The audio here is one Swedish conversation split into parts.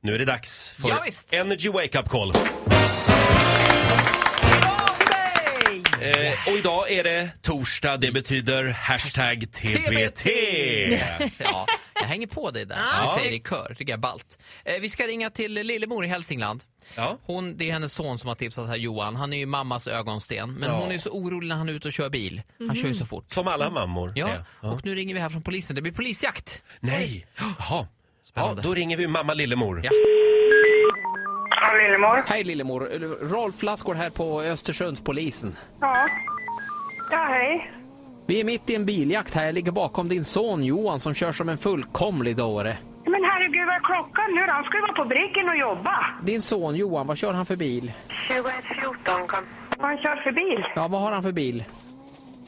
Nu är det dags för Ja, visst. Energy Wake Up Call. Bra för mig! Eh, och idag är det torsdag, det betyder hashtag TBT. Ja, jag hänger på dig där. Ja. Vi säger det i kör, tycker jag är ballt. Eh, vi ska ringa till Lillemor i Hälsingland. Ja. Hon, det är hennes son som har tipsat här, Johan. Han är ju mammas ögonsten. Men Ja. hon är så orolig när han är ute och kör bil. Han kör ju så fort. Som alla mammor Ja, är. och nu ringer vi här från polisen. Det blir polisjakt. Nej, jaha. Ja, Spännande. då ringer vi mamma Lillemor. Ja. Ja, Lillemor. Hej Lillemor, Eh, Rolf Lassgård här på Östersundspolisen. Ja. Ja, hej. Vi är mitt i en biljakt här. Jag ligger bakom din son Johan som kör som en fullkomlig dåre. Men herregud, vad är klockan nu då? Han ska ju vara på bricken och jobba. Din son Johan, vad kör han för bil? 21.14 kom. Vad han kör för bil? Ja, vad har han för bil?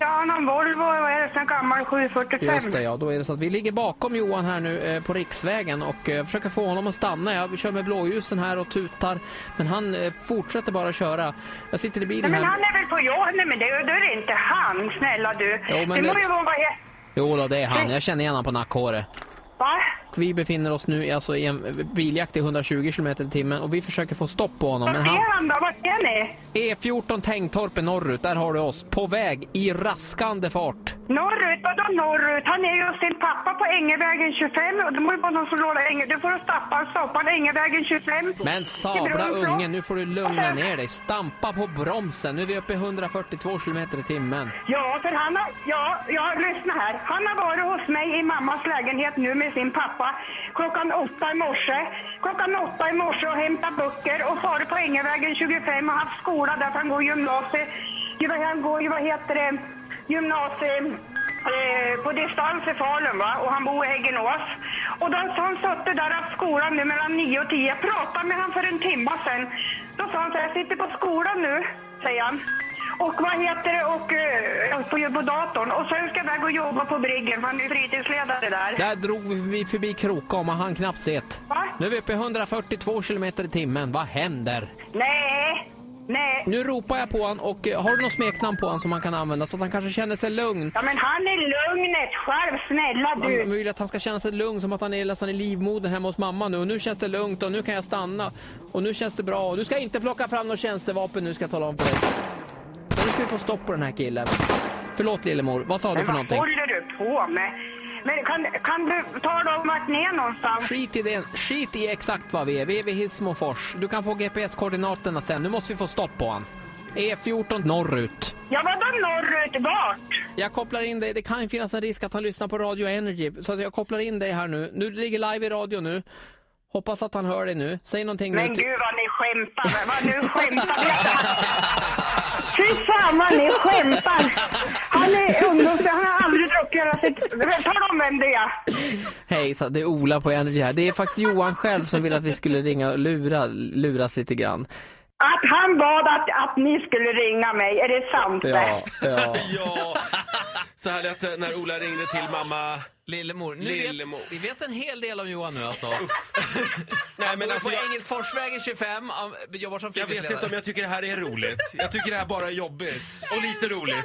Ja, han har en Volvo, vad är det, sån gammal 745. Just det, ja. Då är det så att vi ligger bakom Johan här nu eh, på riksvägen och eh, försöker få honom att stanna. Jag kör med blåljusen här och tutar, men han eh, fortsätter bara köra. Jag sitter i Nej, bilen men här. han är väl på jobb? Nej, men det, då är det inte han, snälla du. Jo, men det må det- ju vara... vad he- Jo då, det är han. Jag känner igen honom på nackhåret. Va? Vi befinner oss nu i- alltså, i en biljakt i 120 km i timmen och vi försöker få stopp på honom. Vad Men ser han... han då? Vad ser ni? E14 Tängtorp i norrut, där har du oss. På väg i raskande fart. Norrut? Vadå norrut? Han är ju hos sin pappa på Ängevägen 25. Och det må ju vara någon som lånar Änge... Du får stoppa, stoppa Ängevägen 25. Men sabla ungen, nu får du lugna ner dig. Stampa på bromsen. Nu är vi uppe i 142 km i timmen. Ja, för han har, ja, ja, lyssna här. Han har varit hos mig i mammas lägenhet nu med sin pappa klockan åtta i morse. Klockan åtta i morse och hämtat böcker och farit på Ängevägen 25 och haft skola där för han går gymnasiet. ju vad- Han går ju, vad heter det, gymnasiet eh, på distans i Falun va? och han bor i Häggenås. Och då så han suttit där och haft skolan nu mellan 9 och 10. Jag pratade med han för en timma sen. Då sa han så här, jag sitter på skolan nu, säger han. Och vad heter det, och eh, på, på datorn. Och sen ska jag iväg och jobba på Bryggen, för han är fritidsledare där. Där drog vi förbi, förbi Krokom och han knappt sett. Va? Nu är vi uppe i 142 km i timmen. Vad händer? Nej, nej. Nu ropar jag på honom och eh, har du något smeknamn på honom som han kan använda så att han kanske känner sig lugn? Ja men han är lugnet själv, snälla Man man du. vill att han ska känna sig lugn som att han är nästan i livmodern hemma hos mamma nu. Och nu känns det lugnt och nu kan jag stanna. Och nu känns det bra. Och du ska inte plocka fram något tjänstevapen nu ska jag tala om för dig. Men Nu ska vi få stopp på den här killen. Förlåt Lillemor, vad sa du Men för vad någonting? håller du på med? Men kan, kan du tala om vart ni är någonstans? Skit i det. Skit i exakt vad vi är. Vi är vid Hissmofors. Du kan få GPS-koordinaterna sen. Nu måste vi få stopp på han. E14 norrut. Ja vadå norrut, vart? Jag kopplar in dig. Det kan ju finnas en risk att han lyssnar på Radio Energy. Så att jag kopplar in dig här nu. Nu ligger live i radio nu. Hoppas att han hör dig nu. Säg någonting nu. Men till- gud vad ni skämtar, vad nu skämtar ni? Fy fan vad ni skämtar! Han är ungdoms... Han har aldrig druckit hela sitt... Tala om vem det är! Hej, så det är Ola på Energy här. Det är faktiskt Johan själv som ville att vi skulle ringa och lura, luras lite grann. Att han bad att, att ni skulle ringa mig, är det sant? Ja, ja. Ja, så här lät det när Ola ringde till mamma. Lillemor, nu Lillemor. Vet, vi vet en hel del om Johan nu alltså. Nej, men alltså, på jag, Engelsforsvägen 25, am- jobbar som jag vet inte om jag tycker det här är roligt. Jag tycker det här bara är jobbigt. Och lite roligt.